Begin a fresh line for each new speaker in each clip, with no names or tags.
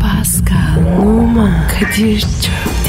Pascal, Oman, Kadir çok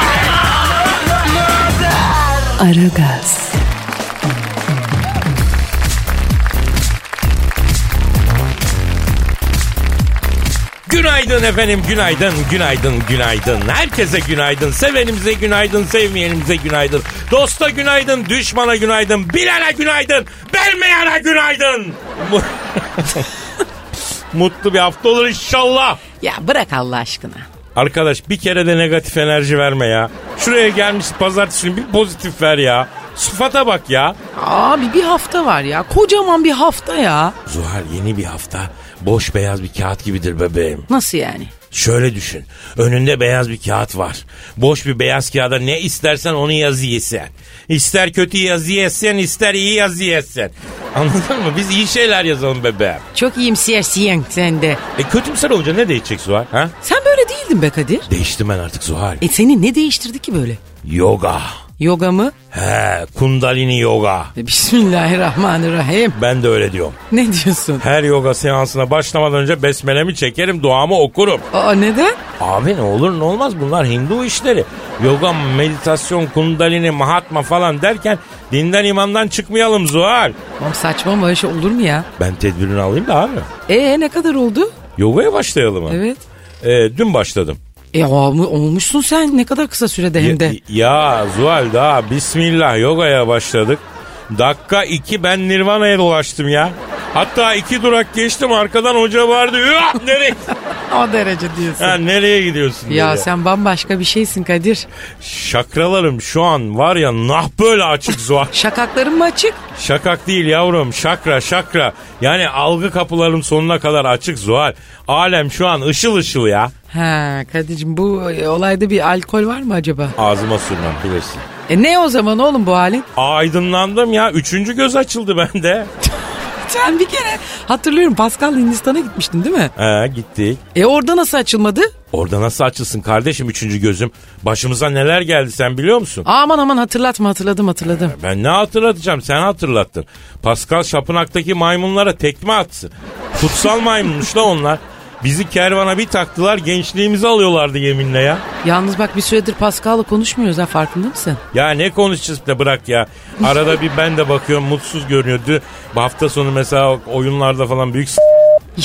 Aragaz,
Günaydın efendim, günaydın, günaydın, günaydın. Herkese günaydın, sevenimize günaydın, sevmeyenimize günaydın. Dosta günaydın, düşmana günaydın, bilene günaydın, vermeyene günaydın. Bu- Mutlu bir hafta olur inşallah.
Ya bırak Allah aşkına.
Arkadaş bir kere de negatif enerji verme ya. Şuraya gelmiş pazartesi günü bir pozitif ver ya. Sıfata bak ya.
Abi bir hafta var ya. Kocaman bir hafta ya.
Zuhal yeni bir hafta boş beyaz bir kağıt gibidir bebeğim.
Nasıl yani?
Şöyle düşün. Önünde beyaz bir kağıt var. Boş bir beyaz kağıda ne istersen onu yaz yesen. İster kötü yazı yesen, ister iyi yazı yesen. Anladın mı? Biz iyi şeyler yazalım bebeğim.
Çok iyimsersin sen de.
E kötümser olunca ne değişecek Zuhal? Ha?
Sen böyle değildin be Kadir.
Değiştim ben artık Zuhal.
E seni ne değiştirdi ki böyle?
Yoga.
Yoga mı?
He, kundalini yoga.
E, Bismillahirrahmanirrahim.
Ben de öyle diyorum.
Ne diyorsun?
Her yoga seansına başlamadan önce besmelemi çekerim, duamı okurum.
Aa neden?
Abi ne olur ne olmaz bunlar Hindu işleri. Yoga, meditasyon, kundalini, mahatma falan derken dinden imandan çıkmayalım Zuhal.
Oğlum saçma böyle şey olur mu ya?
Ben tedbirini alayım da abi.
E ne kadar oldu?
Yogaya başlayalım mı?
Evet.
Ee, dün başladım.
E olmu- olmuşsun sen ne kadar kısa sürede hem de.
Ya, ya Zuhal daha bismillah yogaya başladık. Dakika iki ben Nirvana'ya dolaştım ya. Hatta iki durak geçtim arkadan hoca vardı. "Üah, nereye,
O derece diyorsun.
ha, nereye gidiyorsun?
ya
dedi.
sen bambaşka bir şeysin Kadir.
Şakralarım şu an var ya nah böyle açık Zuhal.
Şakakların mı açık?
Şakak değil yavrum şakra şakra. Yani algı kapılarım sonuna kadar açık Zuhal. Alem şu an ışıl ışıl ya.
Ha Kadir'cim bu e, olayda bir alkol var mı acaba?
Ağzıma sürmem bilirsin.
E ne o zaman oğlum bu halin?
Aydınlandım ya. Üçüncü göz açıldı bende.
Sen bir kere hatırlıyorum Pascal Hindistan'a gitmiştin değil mi?
He gittik.
E orada nasıl açılmadı?
Orada nasıl açılsın kardeşim üçüncü gözüm? Başımıza neler geldi sen biliyor musun?
Aman aman hatırlatma hatırladım hatırladım.
Ben ne hatırlatacağım sen hatırlattın. Pascal Şapınak'taki maymunlara tekme atsın. Kutsal maymunmuş la onlar. Bizi kervana bir taktılar gençliğimizi alıyorlardı yeminle ya.
Yalnız bak bir süredir Pascal'la konuşmuyoruz ha farkında mısın?
Ya ne konuşacağız da bırak ya. Arada bir ben de bakıyorum mutsuz görünüyordu. Bu hafta sonu mesela oyunlarda falan büyük s-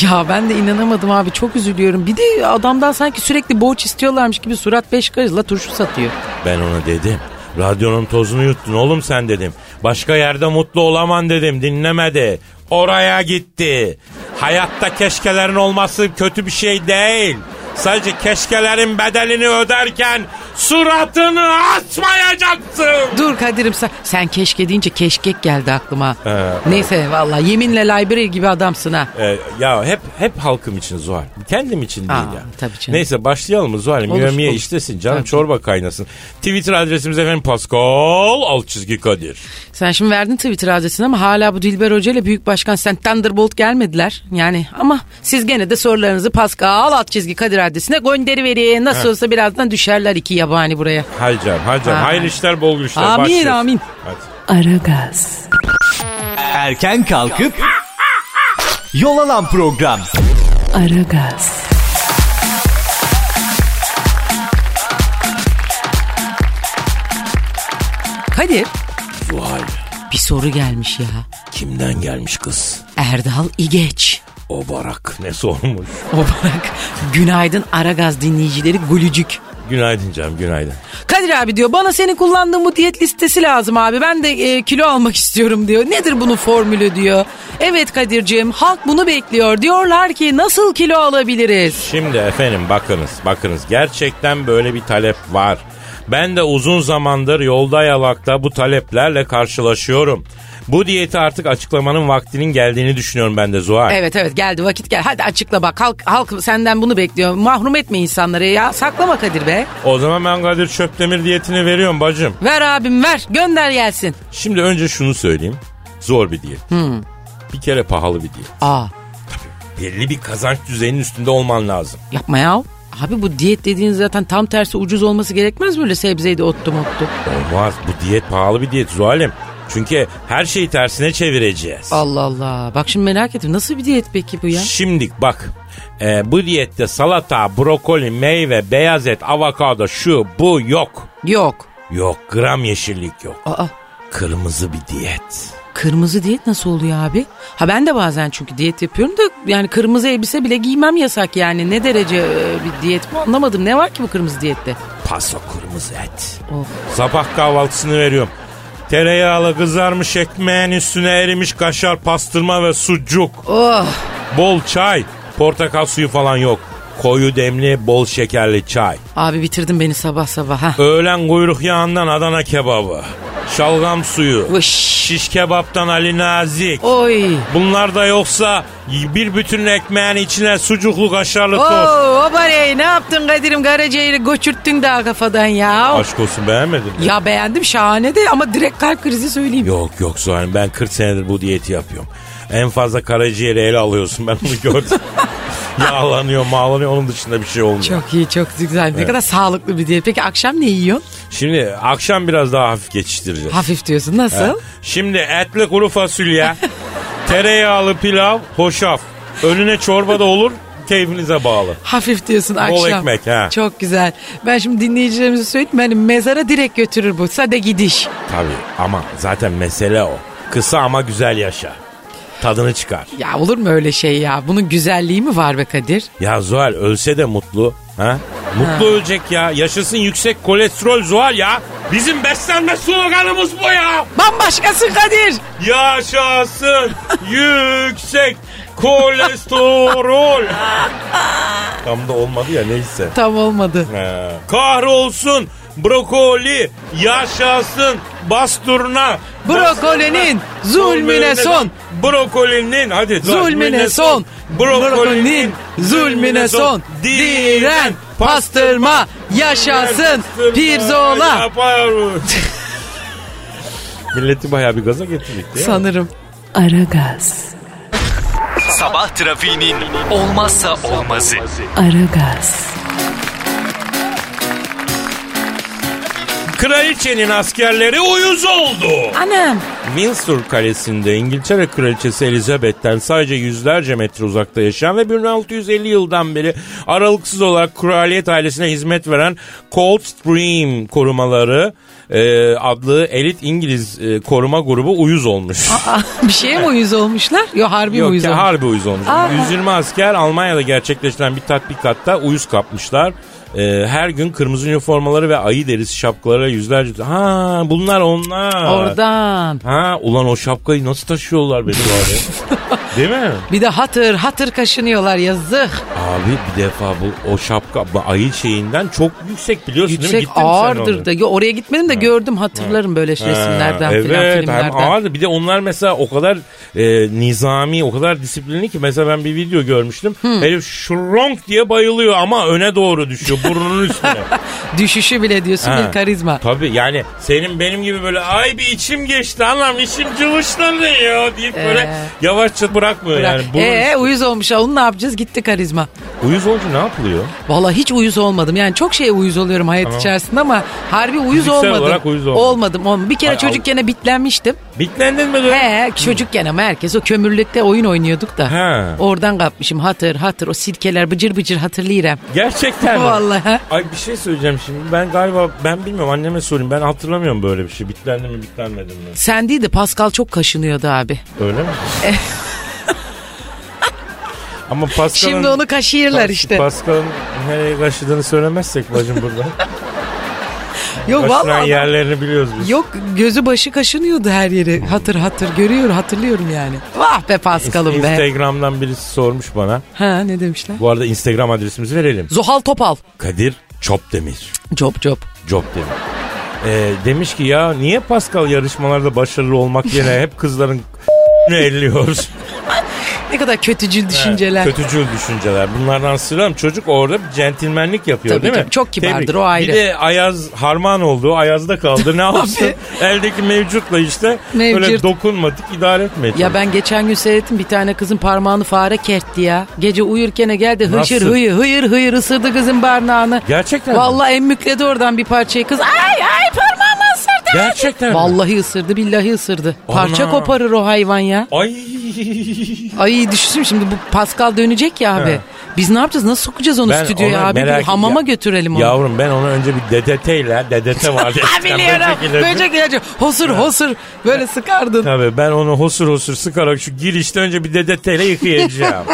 Ya ben de inanamadım abi çok üzülüyorum. Bir de adamdan sanki sürekli borç istiyorlarmış gibi surat beş karızla turşu satıyor.
Ben ona dedim. Radyonun tozunu yuttun oğlum sen dedim. Başka yerde mutlu olaman dedim. Dinlemedi. Oraya gitti. Hayatta keşkelerin olması kötü bir şey değil. Sadece keşkelerin bedelini öderken suratını asmayacaksın.
Dur Kadir'im sen, sen keşke deyince keşkek geldi aklıma.
Ee,
Neyse vallahi yeminle library gibi adamsın ha.
Ee, ya hep hep halkım için Zuhal. Kendim için değil
Aa,
ya.
tabii canım.
Neyse başlayalım mı Zuhal'im?
Olur,
Yövmiye
olur.
işlesin canım
Tabii.
çorba kaynasın. Twitter adresimiz efendim Pascal alt çizgi Kadir.
Sen şimdi verdin Twitter adresini ama hala bu Dilber Hoca ile Büyük Başkan Sen Thunderbolt gelmediler. Yani ama siz gene de sorularınızı Pascal alt çizgi Kadir adresine gönderiverin. Nasıl olsa birazdan düşerler iki yabani buraya.
Hay canım hay canım.
Ha.
Hayırlı işler bol güçler.
Amin,
Başlıyoruz.
amin.
Hadi.
Aragaz,
Erken kalkıp yol alan program.
Aragaz,
Kadir
Zuhal
bir soru gelmiş ya.
kimden gelmiş kız?
Erdal İgeç.
O barak ne sormuş?
O bak günaydın Aragaz dinleyicileri gülücük.
Günaydın canım günaydın.
Kadir abi diyor bana senin kullandığın bu diyet listesi lazım abi. Ben de e, kilo almak istiyorum diyor. Nedir bunun formülü diyor. Evet Kadir'cim halk bunu bekliyor. Diyorlar ki nasıl kilo alabiliriz?
Şimdi efendim bakınız bakınız gerçekten böyle bir talep var. Ben de uzun zamandır yolda yalakta bu taleplerle karşılaşıyorum. Bu diyeti artık açıklamanın vaktinin geldiğini düşünüyorum ben de Zuhal.
Evet evet geldi vakit gel. Hadi açıkla bak. Halk, halk senden bunu bekliyor. Mahrum etme insanları ya. Saklama Kadir be.
O zaman ben Kadir Çöptemir diyetini veriyorum bacım.
Ver abim ver. Gönder gelsin.
Şimdi önce şunu söyleyeyim. Zor bir diyet. Bir kere pahalı bir diyet.
Aa
Belli bir kazanç düzeyinin üstünde olman lazım.
yapma ya. Abi bu diyet dediğin zaten tam tersi ucuz olması gerekmez mi öyle sebzeydi ottu mottu?
Olmaz. Bu diyet pahalı bir diyet Zuhal'im. Çünkü her şeyi tersine çevireceğiz.
Allah Allah. Bak şimdi merak ettim. Nasıl bir diyet peki bu ya?
Şimdi bak e, bu diyette salata, brokoli, meyve, beyaz et, avokado şu bu yok.
Yok.
Yok gram yeşillik yok.
Aa
Kırmızı bir diyet.
kırmızı diyet nasıl oluyor abi? Ha ben de bazen çünkü diyet yapıyorum da yani kırmızı elbise bile giymem yasak yani. Ne derece e, bir diyet bu anlamadım. Ne var ki bu kırmızı diyette?
Paso kırmızı et.
Of.
Sabah kahvaltısını veriyorum. Tereyağlı kızarmış ekmeğin üstüne erimiş kaşar pastırma ve sucuk.
Oh.
Bol çay. Portakal suyu falan yok. Koyu demli bol şekerli çay.
Abi bitirdin beni sabah sabah. Ha.
Öğlen kuyruk yağından Adana kebabı. Şalgam suyu.
Vış.
Şiş kebaptan Ali Nazik.
Oy.
Bunlar da yoksa bir bütün ekmeğin içine sucuklu kaşarlı tost.
Oo, o bareyi ne yaptın Kadir'im Garacay'ı göçürttün daha kafadan ya.
Aşk olsun beğenmedin mi?
Ya beğendim şahane de ama direkt kalp krizi söyleyeyim.
Yok yok Zuhal'im ben 40 senedir bu diyeti yapıyorum. En fazla karaciğeri ele alıyorsun ben onu gördüm. Yağlanıyor mağlanıyor onun dışında bir şey olmuyor.
Çok iyi çok güzel. Ne kadar sağlıklı bir diyet. Peki akşam ne yiyorsun?
Şimdi akşam biraz daha hafif geçiştireceğiz.
Hafif diyorsun nasıl?
Şimdi etli kuru fasulye, tereyağlı pilav, hoşaf. Önüne çorba da olur keyfinize bağlı.
Hafif diyorsun akşam.
ekmek, ha.
Çok güzel. Ben şimdi dinleyicilerimize söyleyeyim. Yani mezara direkt götürür bu. Sade gidiş.
Tabii ama zaten mesele o. Kısa ama güzel yaşa. Tadını çıkar.
Ya olur mu öyle şey ya? Bunun güzelliği mi var be Kadir?
Ya Zuhal ölse de mutlu. Ha? Mutlu ölecek ya. Yaşasın yüksek kolesterol Zuhal ya. Bizim beslenme sloganımız bu ya.
Bambaşkası Kadir.
Yaşasın yüksek kolesterol. Tam da olmadı ya neyse.
Tam olmadı.
Ha. Kahrolsun brokoli yaşasın basturna.
Brokolinin zulmüne son.
Brokolinin hadi.
Zulmüne son. Brokolinin zulmüne son. Diren pastırma yaşasın pirzola.
Milleti bayağı bir gaza getirdik değil mi?
Sanırım.
Aragaz,
Sabah trafiğinin olmazsa olmazı.
Aragaz,
Kraliçenin askerleri uyuz oldu.
Anam.
Windsor Kalesi'nde İngiltere Kraliçesi Elizabeth'ten sadece yüzlerce metre uzakta yaşayan ve 1650 yıldan beri aralıksız olarak kraliyet ailesine hizmet veren Coldstream korumaları e, adlı elit İngiliz e, koruma grubu uyuz olmuş.
Aa, bir şeye mi uyuz olmuşlar? Yo harbi mi
Yok
uyuz
ya
olmuş?
harbi uyuz olmuş.
Aa.
120 asker Almanya'da gerçekleştiren bir tatbikatta uyuz kapmışlar. E, her gün kırmızı üniformaları ve ayı derisi şapkalara yüzlerce... Ha bunlar onlar.
Oradan.
Ha ulan o şapkayı nasıl taşıyorlar beni bari? Değil mi?
Bir de hatır hatır kaşınıyorlar yazık.
Abi bir defa bu o şapka bu ayı şeyinden çok yüksek biliyorsun değil mi?
Yüksek
Gittin mi sen
ağırdır
ona?
da. Yo, oraya gitmedim de gördüm hatırlarım böyle
Ha,
resimlerden filan
evet
filmlerden.
hem ağırdı bir de onlar mesela o kadar e, nizami o kadar disiplinli ki mesela ben bir video görmüştüm herif şuronk diye bayılıyor ama öne doğru düşüyor burnunun üstüne
Düşüşü bile diyorsun
Ha.
bir karizma.
tabi yani senin benim gibi böyle ay bir içim geçti anam içim cıvışladı ya deyip böyle
Ee.
yavaşça bırakmıyor yani
Bırak.
burnun
Ee, uyuz olmuş. Onu ne yapacağız? Gitti karizma.
Uyuz olunca ne yapılıyor?
Valla hiç uyuz olmadım. Yani çok şeye uyuz oluyorum hayat içerisinde ama harbi uyuz
Fiziksel
olmadım.
olarak uyuz olmadın.
olmadım. olmadım. Bir kere
Hay
çocukken bitlenmiştim.
Bitlendin mi? lan?
He çocukken ama herkes o kömürlükte oyun oynuyorduk da.
He.
Oradan kapmışım hatır hatır o sirkeler bıcır bıcır hatırlayıram.
Gerçekten mi?
Vallahi.
Ay bir şey söyleyeceğim şimdi. Ben galiba ben bilmiyorum anneme sorayım. Ben hatırlamıyorum böyle bir şey. Bitlendi mi bitlenmedi mi?
Sen değil de Pascal çok kaşınıyordu abi.
Öyle mi? Ama Pascal'ın...
Şimdi onu kaşıyırlar işte.
Pascal'ın nereye kaşıdığını söylemezsek bacım burada.
Yok
Kaşınan
vallahi.
yerlerini biliyoruz biz.
Yok gözü başı kaşınıyordu her yeri. Hatır hatır görüyor hatırlıyorum yani. Vah be Pascal'ım be.
Instagram'dan birisi sormuş bana.
Ha ne demişler?
Bu arada Instagram adresimizi verelim.
Zuhal Topal.
Kadir Çopdemir.
Cop cop.
Job Demir. Ee, demiş ki ya niye Pascal yarışmalarda başarılı olmak yerine hep kızların elliyoruz.
Ne kadar kötücül düşünceler.
Kötücül düşünceler. Bunlardan sıram çocuk orada bir centilmenlik yapıyor
Tabii,
değil mi?
tabii. Çok kibardır, o ayrı.
Bir de Ayaz harman oldu. Ayaz'da kaldı. Ne yapsın? Eldeki mevcutla işte böyle
Mevcut.
dokunmadık idare etmedi.
Ya ben geçen gün seyrettim bir tane kızın parmağını fare kertti ya. Gece uyurken geldi hışır
Nasıl?
hıyır hıyır hıyır ısırdı kızın barnağını.
Gerçekten mi?
Vallahi emmükledi oradan bir parçayı kız. Ay ay parmağımı ısırdı.
Gerçekten mi?
Vallahi ısırdı billahi ısırdı. Parça
Ana.
koparır o hayvan ya.
Ay.
Ay düşünsün şimdi bu Pascal dönecek ya abi.
He.
Biz ne yapacağız nasıl sokacağız onu
Ben
stüdyoya
ona
abi? Bir
merak-
hamama
Ya-
götürelim onu.
Yavrum ben ona önce bir DDT ile DDT var.
Ha biliyorum. Böcek ilacı. Hosur hosur. Böyle sıkardın.
Tabii ben onu hosur hosur sıkarak şu girişte önce bir dedeteyle yıkayacağım.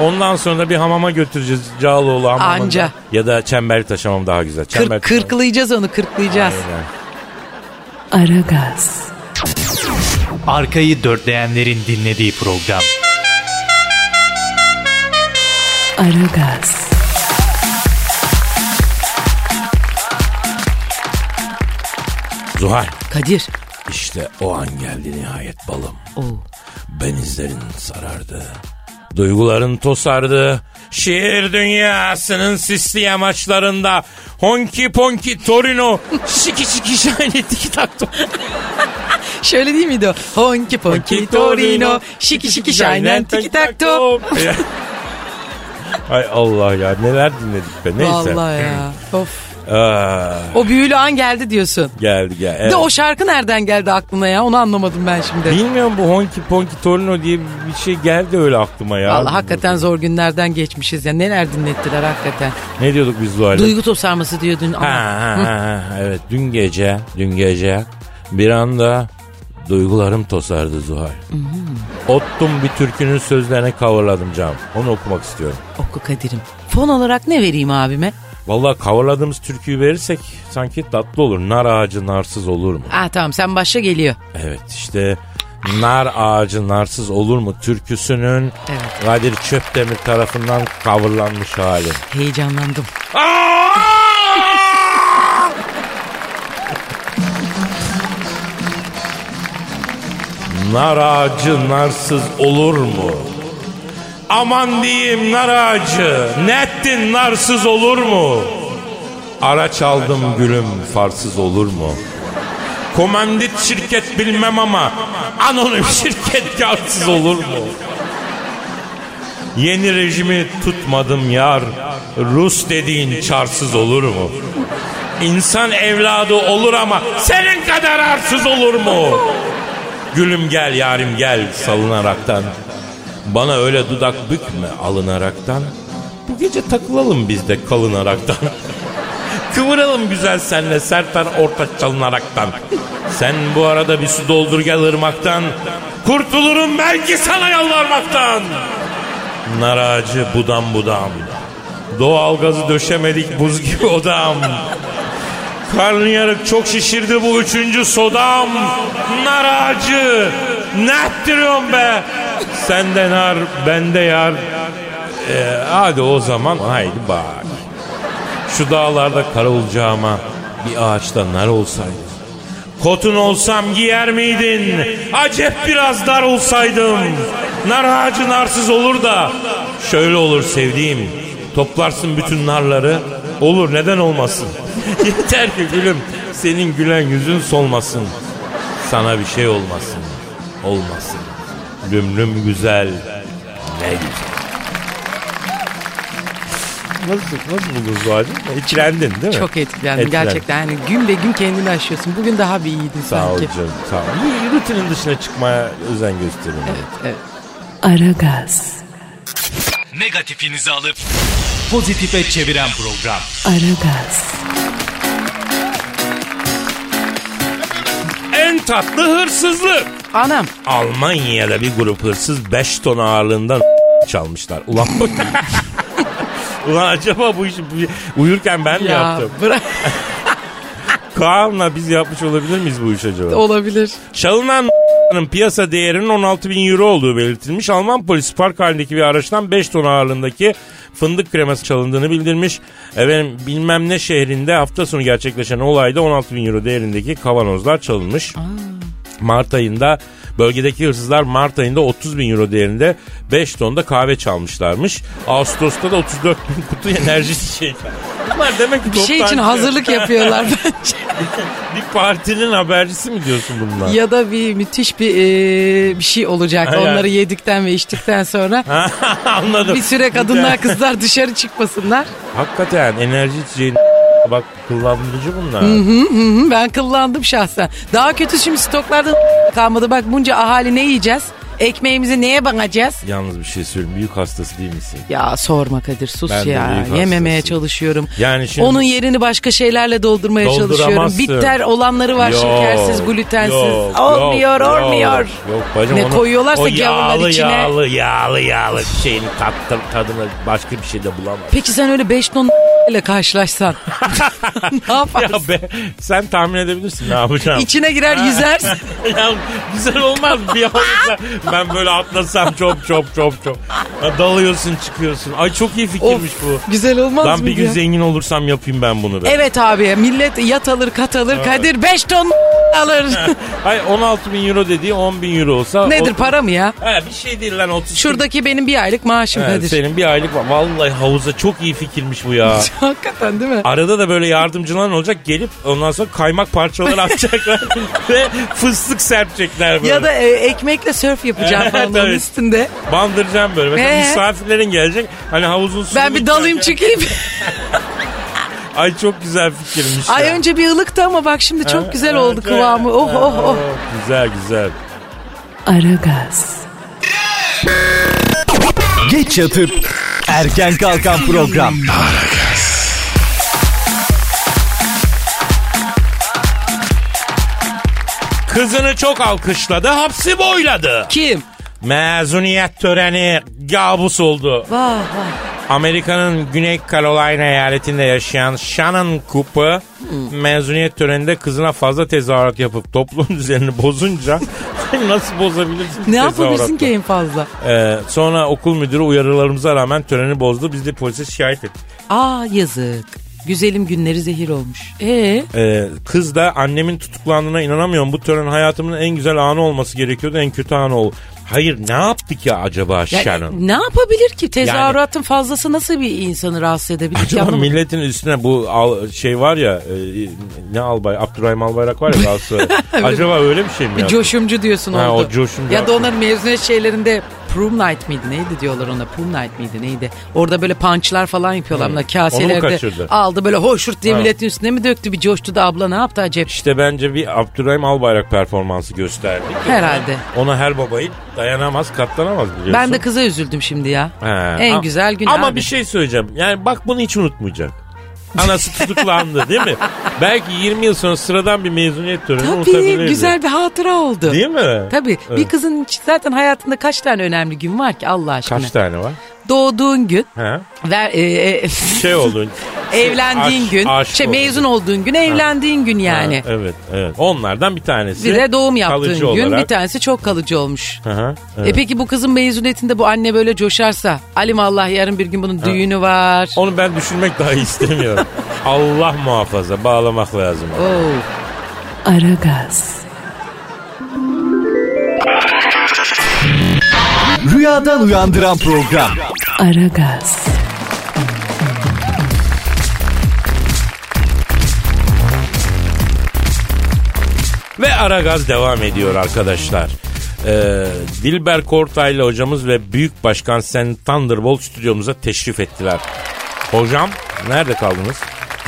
Ondan sonra da bir hamama götüreceğiz Cağaloğlu hamamında.
Anca.
Ya da Çemberli hamam daha güzel. Çemberli
Kırk, kırklayacağız onu kırklayacağız.
Aragaz,
Arkayı dörtleyenlerin dinlediği program.
Aragaz,
Zuhal
Kadir.
işte o an geldi nihayet balım.
Oo.
Benizlerin sarardı. Duyguların tosardı. Şiir dünyasının sisli yamaçlarında honki ponki torino şiki şiki şahane tiki tak tok.
Şöyle değil miydi o? Honki ponki torino, şiki şiki şaynen tiki tak top.
Ay Allah ya neler dinledik be neyse.
Vallahi ya. Of.
Aa,
O büyülü an geldi diyorsun.
geldi gel.
Bir
Evet.
De o şarkı nereden geldi aklına ya? Onu anlamadım ben şimdi.
Bilmiyorum bu honki ponki torino diye bir şey geldi öyle aklıma ya.
Vallahi hakikaten zor günlerden geçmişiz ya. Neler dinlettiler hakikaten.
Ne diyorduk biz Zuhal'le?
Duygu tosarması diyordun ama.
Ha, ha, ha, ha, evet dün gece dün gece bir anda duygularım tosardı Zuhal.
Mhm.
Ottum bir türkünün sözlerine coverladım canım. Onu okumak istiyorum.
Oku Kadir'im. Fon olarak ne vereyim abime?
Vallahi coverladığımız türküyü verirsek sanki tatlı olur. Nar ağacı narsız olur mu?
Ah tamam sen başla geliyor.
Evet işte nar ağacı narsız olur mu türküsünün
Evet.
Kadir Çöpdemir tarafından coverlanmış hali.
Heyecanlandım.
Nar ağacı narsız olur mu? Aman diyeyim nar ağacı, ne ettin narsız olur mu? Araç aldım gülüm farsız olur mu? Komandit şirket bilmem ama anonim şirket karsız olur mu? Yeni rejimi tutmadım yar, Rus dediğin çarsız olur mu? İnsan evladı olur ama senin kadar arsız olur mu? Gülüm gel yarim gel salınaraktan. Bana öyle dudak bükme alınaraktan. Bu gece takılalım biz de kalınaraktan. Kıvıralım güzel senle serper orta çalınaraktan. Sen bu arada bir su doldur gel ırmaktan. Kurtulurum belki sana yalvarmaktan. Nar ağacı budam budam. Doğalgazı döşemedik buz gibi odam. Karnıyarık çok şişirdi bu üçüncü sodam. Nar ağacı. Ne ettiriyorsun be? Sende nar, bende yar. Ee, hadi o zaman haydi bak. Şu dağlarda kara olacağıma bir ağaçta nar olsaydı. Kotun olsam giyer miydin? Acep biraz dar olsaydım. Nar ağacı narsız olur da. Şöyle olur sevdiğim. Toplarsın bütün narları. Olur neden olmasın? Yeter ki gülüm senin gülen yüzün solmasın. Sana bir şey olmasın. Olmasın. Lümlüm güzel. Ne güzel. Nasıl, nasıl buldun Zuhal'cığım? İçlendin değil mi?
Çok etkilendim
Etkilendim.
gerçekten. Yani gün be gün kendini aşıyorsun. Bugün daha bir iyiydin
Sağ ol
sanki.
canım sağ ol. İyi, Rutinin dışına çıkmaya özen gösterin.
Evet.
Aragaz,
Negatifinizi alıp pozitife çeviren program.
Aragaz,
En tatlı hırsızlık.
Anam
Almanya'da bir grup hırsız 5 ton ağırlığından çalmışlar. Ulan bu- Ulan acaba bu işi bu- uyurken ben mi
ya
yaptım?
bırak
Kaan'la biz yapmış olabilir miyiz bu işi acaba?
olabilir.
Çalınan piyasa değerinin 16 bin euro olduğu belirtilmiş. Alman polisi park halindeki bir araçtan 5 ton ağırlığındaki fındık kreması çalındığını bildirmiş. Efendim bilmem ne şehrinde hafta sonu gerçekleşen olayda 16 bin euro değerindeki kavanozlar çalınmış. Mart ayında bölgedeki hırsızlar Mart ayında 30 bin euro değerinde 5 tonda kahve çalmışlarmış. Ağustos'ta da 34 bin kutu enerji içecek. Bunlar demek ki
Bir şey için
toptancı.
hazırlık yapıyorlar bence.
bir partinin habercisi mi diyorsun bunlar?
ya da bir müthiş bir e, bir şey olacak.
Ha, yani.
Onları yedikten ve içtikten sonra
Anladım.
bir süre kadınlar kızlar dışarı çıkmasınlar.
Hakikaten enerji içeceğin bak kullandırıcı bunlar.
Hı, ben kıllandım şahsen. Daha kötü şimdi stoklarda kalmadı. Bak bunca ahali ne yiyeceğiz? Ekmeğimizi neye bakacağız?
Yalnız bir şey söyleyeyim. Büyük hastası değil misin?
Ya sorma Kadir sus
Ben de büyük
ya.
hastasıyım.
Yememeye çalışıyorum.
Yani şimdi-
Onun yerini başka şeylerle doldurmaya çalışıyorum.
Dolduramazsın.
Bitter olanları var
Yok,
şekersiz, glutensiz.
yok,
olmuyor,
yok,
olmuyor.
Yok bacım
Ne
onu-
koyuyorlarsa
o
gavurlar
yağlı,
içine.
Yağlı yağlı yağlı bir şeyin tat, tat- tadını başka bir şey de bulamaz.
Peki sen öyle 5 ton ile karşılaşsan ne yaparsın?
Ya be, sen tahmin edebilirsin ne yapacağım.
İçine girer yüzersin.
ya güzel olmaz bir anda ben böyle atlasam çop çop çop çop. Ya dalıyorsun çıkıyorsun. Ay çok iyi fikirmiş bu.
Güzel olmaz
Lan
mı
bir gün
ya?
zengin olursam yapayım ben bunu be.
Evet abi millet yat alır kat alır Kadir 5 ton alır.
Hayır 16 bin euro dediği 10 bin euro olsa.
Nedir
o-
para mı ya?
Ha, bir şey değil lan 30
Şuradaki benim bir aylık maaşım
Ha,
Kadir.
senin bir aylık var. Vallahi havuza çok iyi fikirmiş bu ya.
Hakikaten değil mi?
Arada da böyle yardımcılar olacak gelip ondan sonra kaymak parçaları atacaklar ve fıstık serpecekler böyle.
Ya da e, ekmekle sörf yapacağım
Evet,
falan onun
evet.
üstünde.
Bandıracağım böyle. Mesela
Ee?
misafirlerin gelecek. Hani havuzun suyunu
Ben bir dalayım
içerken-
çıkayım.
Ay çok güzel fikirmiş.
Ay
ya.
önce bir ılıktı ama bak şimdi çok güzel
Evet,
oldu
evet.
kıvamı. Oh oh oh.
Güzel güzel.
Aragaz,
Geç yatıp erken kalkan program.
Kızını çok alkışladı, hapsi boyladı.
Kim?
Mezuniyet töreni kabus oldu.
Vah vah.
Amerika'nın Güney Carolina eyaletinde yaşayan Shannon Cooper mezuniyet töreninde kızına fazla tezahürat yapıp toplum düzenini bozunca nasıl bozabilirsin ki
Ne yapabilirsin
tezahüratla?
ki en fazla?
Ee, sonra okul müdürü uyarılarımıza rağmen töreni bozdu. Biz de polise şikayet ettik.
Aa yazık. Güzelim günleri zehir olmuş. Ee?
Ee, kız da annemin tutuklandığına inanamıyorum. Bu tören hayatımın en güzel anı olması gerekiyordu. En kötü anı oldu. Hayır ne yaptı ki acaba
Yani
Shannon?
ne yapabilir ki? Tezahüratın fazlası nasıl bir insanı rahatsız edebilir ki?
Acaba
Anlamadım.
milletin üstüne bu al- şey var ya e, ne albay Abdurrahim Albayrak var ya Galatasaray. Acaba öyle bir şey mi
Bir
ya?
coşumcu diyorsun
Ha,
oldu.
o coşumcu.
Ya da onların mezuniyet şeylerinde prom night miydi neydi diyorlar ona prom night miydi neydi? Orada böyle punchlar falan yapıyorlar. Onlar kaselerde
Hmm. kaçırdı?
aldı böyle hoşurt diye
Ha.
milletin üstüne mi döktü bir coştu da abla ne yaptı acep?
İşte bence bir Abdurrahim Albayrak performansı gösterdik.
Herhalde.
Ona her babayı dayanamaz, katlanamaz biliyorsun.
Ben de kıza üzüldüm şimdi ya.
He.
En
A-
güzel gün
Ama
abi.
bir şey söyleyeceğim. Yani bak bunu hiç unutmayacak. Anası tutuklandı değil mi? Belki 20 yıl sonra sıradan bir mezuniyet töreni
Tabii
unutabilirdi.
güzel bir hatıra oldu.
Değil mi?
Tabii bir
Evet.
kızın zaten hayatında kaç tane önemli gün var ki Allah aşkına.
Kaç tane var?
Doğduğun gün,
He?
ver, e, e,
Şey oldu.
evlendiğin
aşk-
gün,
aşk
şey,
oldu.
mezun olduğun gün, evlendiğin gün yani.
Ha, evet, evet. Onlardan bir tanesi.
Bir de doğum yaptığın
kalıcı
gün
olarak.
bir tanesi çok kalıcı olmuş.
Hı hı, evet.
E peki bu kızın mezuniyetinde bu anne böyle coşarsa alim Allah yarın bir gün bunun düğünü var.
Onu ben düşünmek daha istemiyorum. Allah muhafaza bağlamak lazım.
Oo.
Aragaz,
Rüyadan uyandıran program.
Aragaz,
Ve ara gaz devam ediyor arkadaşlar. Ee, Dilber Kortaylı hocamız ve Büyük Başkan Sen Thunderbolt stüdyomuza teşrif ettiler. Hocam nerede kaldınız?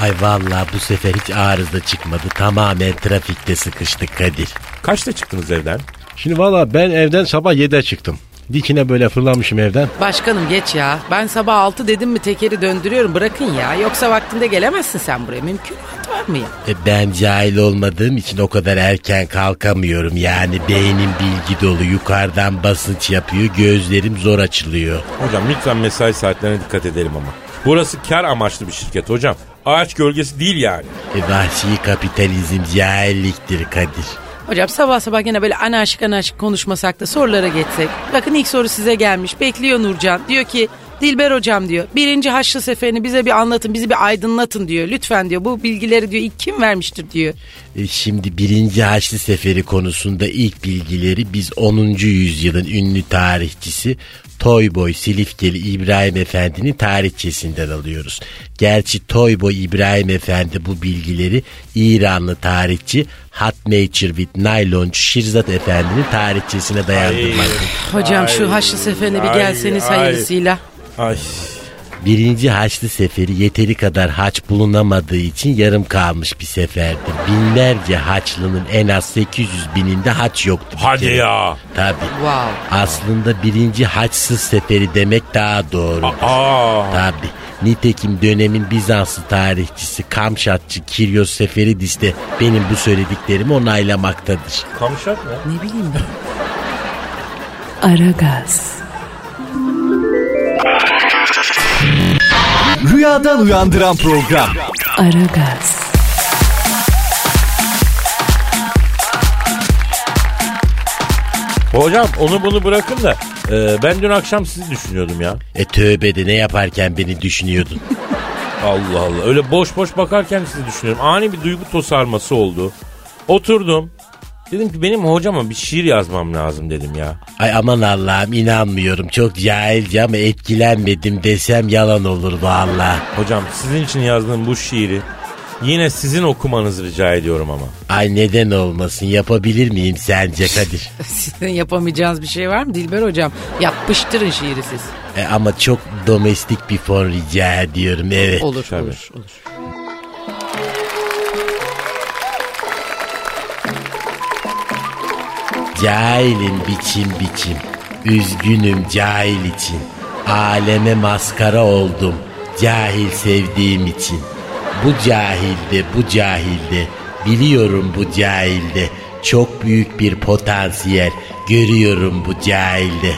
Ay vallahi bu sefer hiç arıza çıkmadı. Tamamen trafikte sıkıştık Kadir.
Kaçta çıktınız evden?
Şimdi valla ben evden sabah 7'de çıktım. Dikine böyle fırlamışım evden.
Başkanım geç ya. Ben sabah 6 dedim mi tekeri döndürüyorum bırakın ya. Yoksa vaktinde gelemezsin sen buraya. Mümkün var mı ya?
E, ben cahil olmadığım için o kadar erken kalkamıyorum. Yani beynim bilgi dolu. Yukarıdan basınç yapıyor. Gözlerim zor açılıyor.
Hocam lütfen mesai saatlerine dikkat edelim ama. Burası kar amaçlı bir şirket hocam. Ağaç gölgesi değil yani.
E, vahşi kapitalizm cahilliktir Kadir.
Hocam sabah sabah yine böyle anarşik anarşik konuşmasak da sorulara geçsek. Bakın ilk soru size gelmiş. Bekliyor Nurcan. Diyor ki Dilber hocam diyor birinci haçlı seferini bize bir anlatın bizi bir aydınlatın diyor. Lütfen diyor bu bilgileri diyor ilk kim vermiştir diyor.
E, Şimdi birinci Haçlı Seferi konusunda ilk bilgileri biz 10. yüzyılın ünlü tarihçisi Toyboy Silifkeli İbrahim Efendi'nin tarihçesinden alıyoruz. Gerçi Toyboy İbrahim Efendi bu bilgileri İranlı tarihçi Hot Nature with Nylon Şirzat Efendi'nin tarihçesine dayandırmaktadır.
Hocam şu haçlı seferine bir
ay,
gelseniz
ay.
hayırlısıyla.
Ay.
Birinci Haçlı Seferi yeteri kadar haç bulunamadığı için yarım kalmış bir seferdi. Binlerce haçlının en az 800 bininde haç yoktu. bir
Hadi
kere.
ya.
Tabii.
Wow.
Aslında birinci haçsız seferi demek daha doğru.
Aa.
Tabii. Nitekim dönemin Bizanslı tarihçisi Kamşatçı Kiryos Seferidis de benim bu söylediklerimi onaylamaktadır.
Kamşat mı?
Ne bileyim ben.
Aragaz,
Rüyadan uyandıran program.
Aragaz,
Hocam onu bunu bırakın da e, ben dün akşam sizi düşünüyordum ya.
E tövbe de ne yaparken beni düşünüyordun.
Allah Allah. Öyle boş boş bakarken sizi düşünüyorum. Ani bir duygu tosarması oldu. Oturdum. Dedim ki benim hocama bir şiir yazmam lazım dedim ya.
Ay aman Allah'ım inanmıyorum çok cahilce ama etkilenmedim desem yalan olur valla.
Hocam sizin için yazdığım bu şiiri yine sizin okumanızı rica ediyorum ama.
Ay neden olmasın yapabilir miyim sence Kadir?
Sizin yapamayacağınız bir şey var mı Dilber hocam? Yapıştırın şiiri siz.
E, ama çok domestik bir fon rica ediyorum evet.
Olur
tabii.
olur olur.
Cahilim biçim biçim. Üzgünüm cahil için. Aleme maskara oldum. Cahil sevdiğim için. Bu cahilde, bu cahilde. Biliyorum bu cahilde. Çok büyük bir potansiyel. Görüyorum bu cahilde.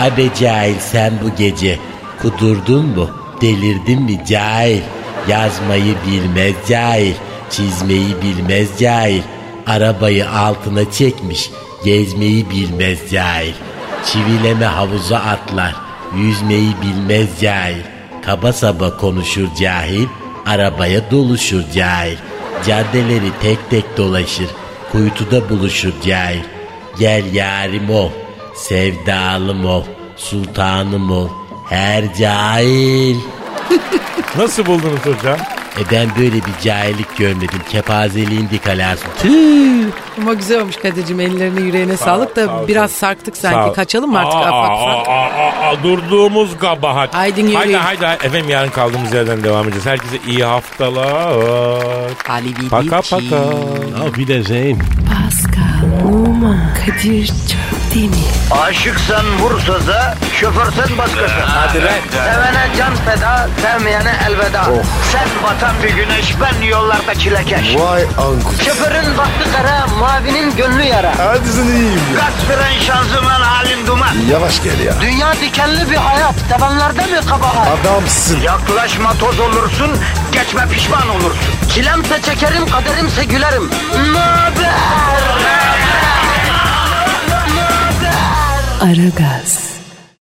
Abe cahil sen bu gece. Kudurdun mu? Delirdin mi cahil? Yazmayı bilmez cahil. Çizmeyi bilmez cahil. Arabayı altına çekmiş, gezmeyi bilmez cahil. Çivileme havuza atlar, yüzmeyi bilmez cahil. Kaba saba konuşur cahil, arabaya doluşur cahil. Caddeleri tek tek dolaşır, kuytuda buluşur cahil. Gel yarim ol, sevdalım ol, sultanım ol, her cahil.
Nasıl buldunuz hocam?
E ben böyle bir cahillik görmedim. Kepazeliğin dikalası. Tüh.
Ama güzel olmuş Kadir'cim ellerine yüreğine sağlık da
sağ ol
biraz
canım.
sarktık
Sağ
sanki.
ol.
Kaçalım mı artık
Aa,
afak
aa,
afak?
aa, aa, durduğumuz kabahat.
Haydi yürüyün.
Haydi haydi. haydi. Efendim yarın kaldığımız yerden devam edeceğiz. Herkese iyi haftalar.
Ali Bibi
Paka
Çi.
paka. é
Pascal, Oman, Kadir çok değil mi?
Aşıksan vursa da, şoförsen başkasın. Hadi
lan.
Sevene can feda, sevmeyene elveda. Sen batan bir güneş, ben yollarda çilekeş.
Vay anku.
Şoförün baktı kara, mavinin gönlü yara.
Hadi sen iyiyim ya.
Kasperen şanzıman halin duman.
Yavaş gel ya.
Dünya dikenli bir hayat, sevenlerde mi kabahar?
Adamsın.
Yaklaşma toz olursun, geçme pişman olursun. Çilemse çekerim, kaderimse gülerim. Möber!
Aragaz.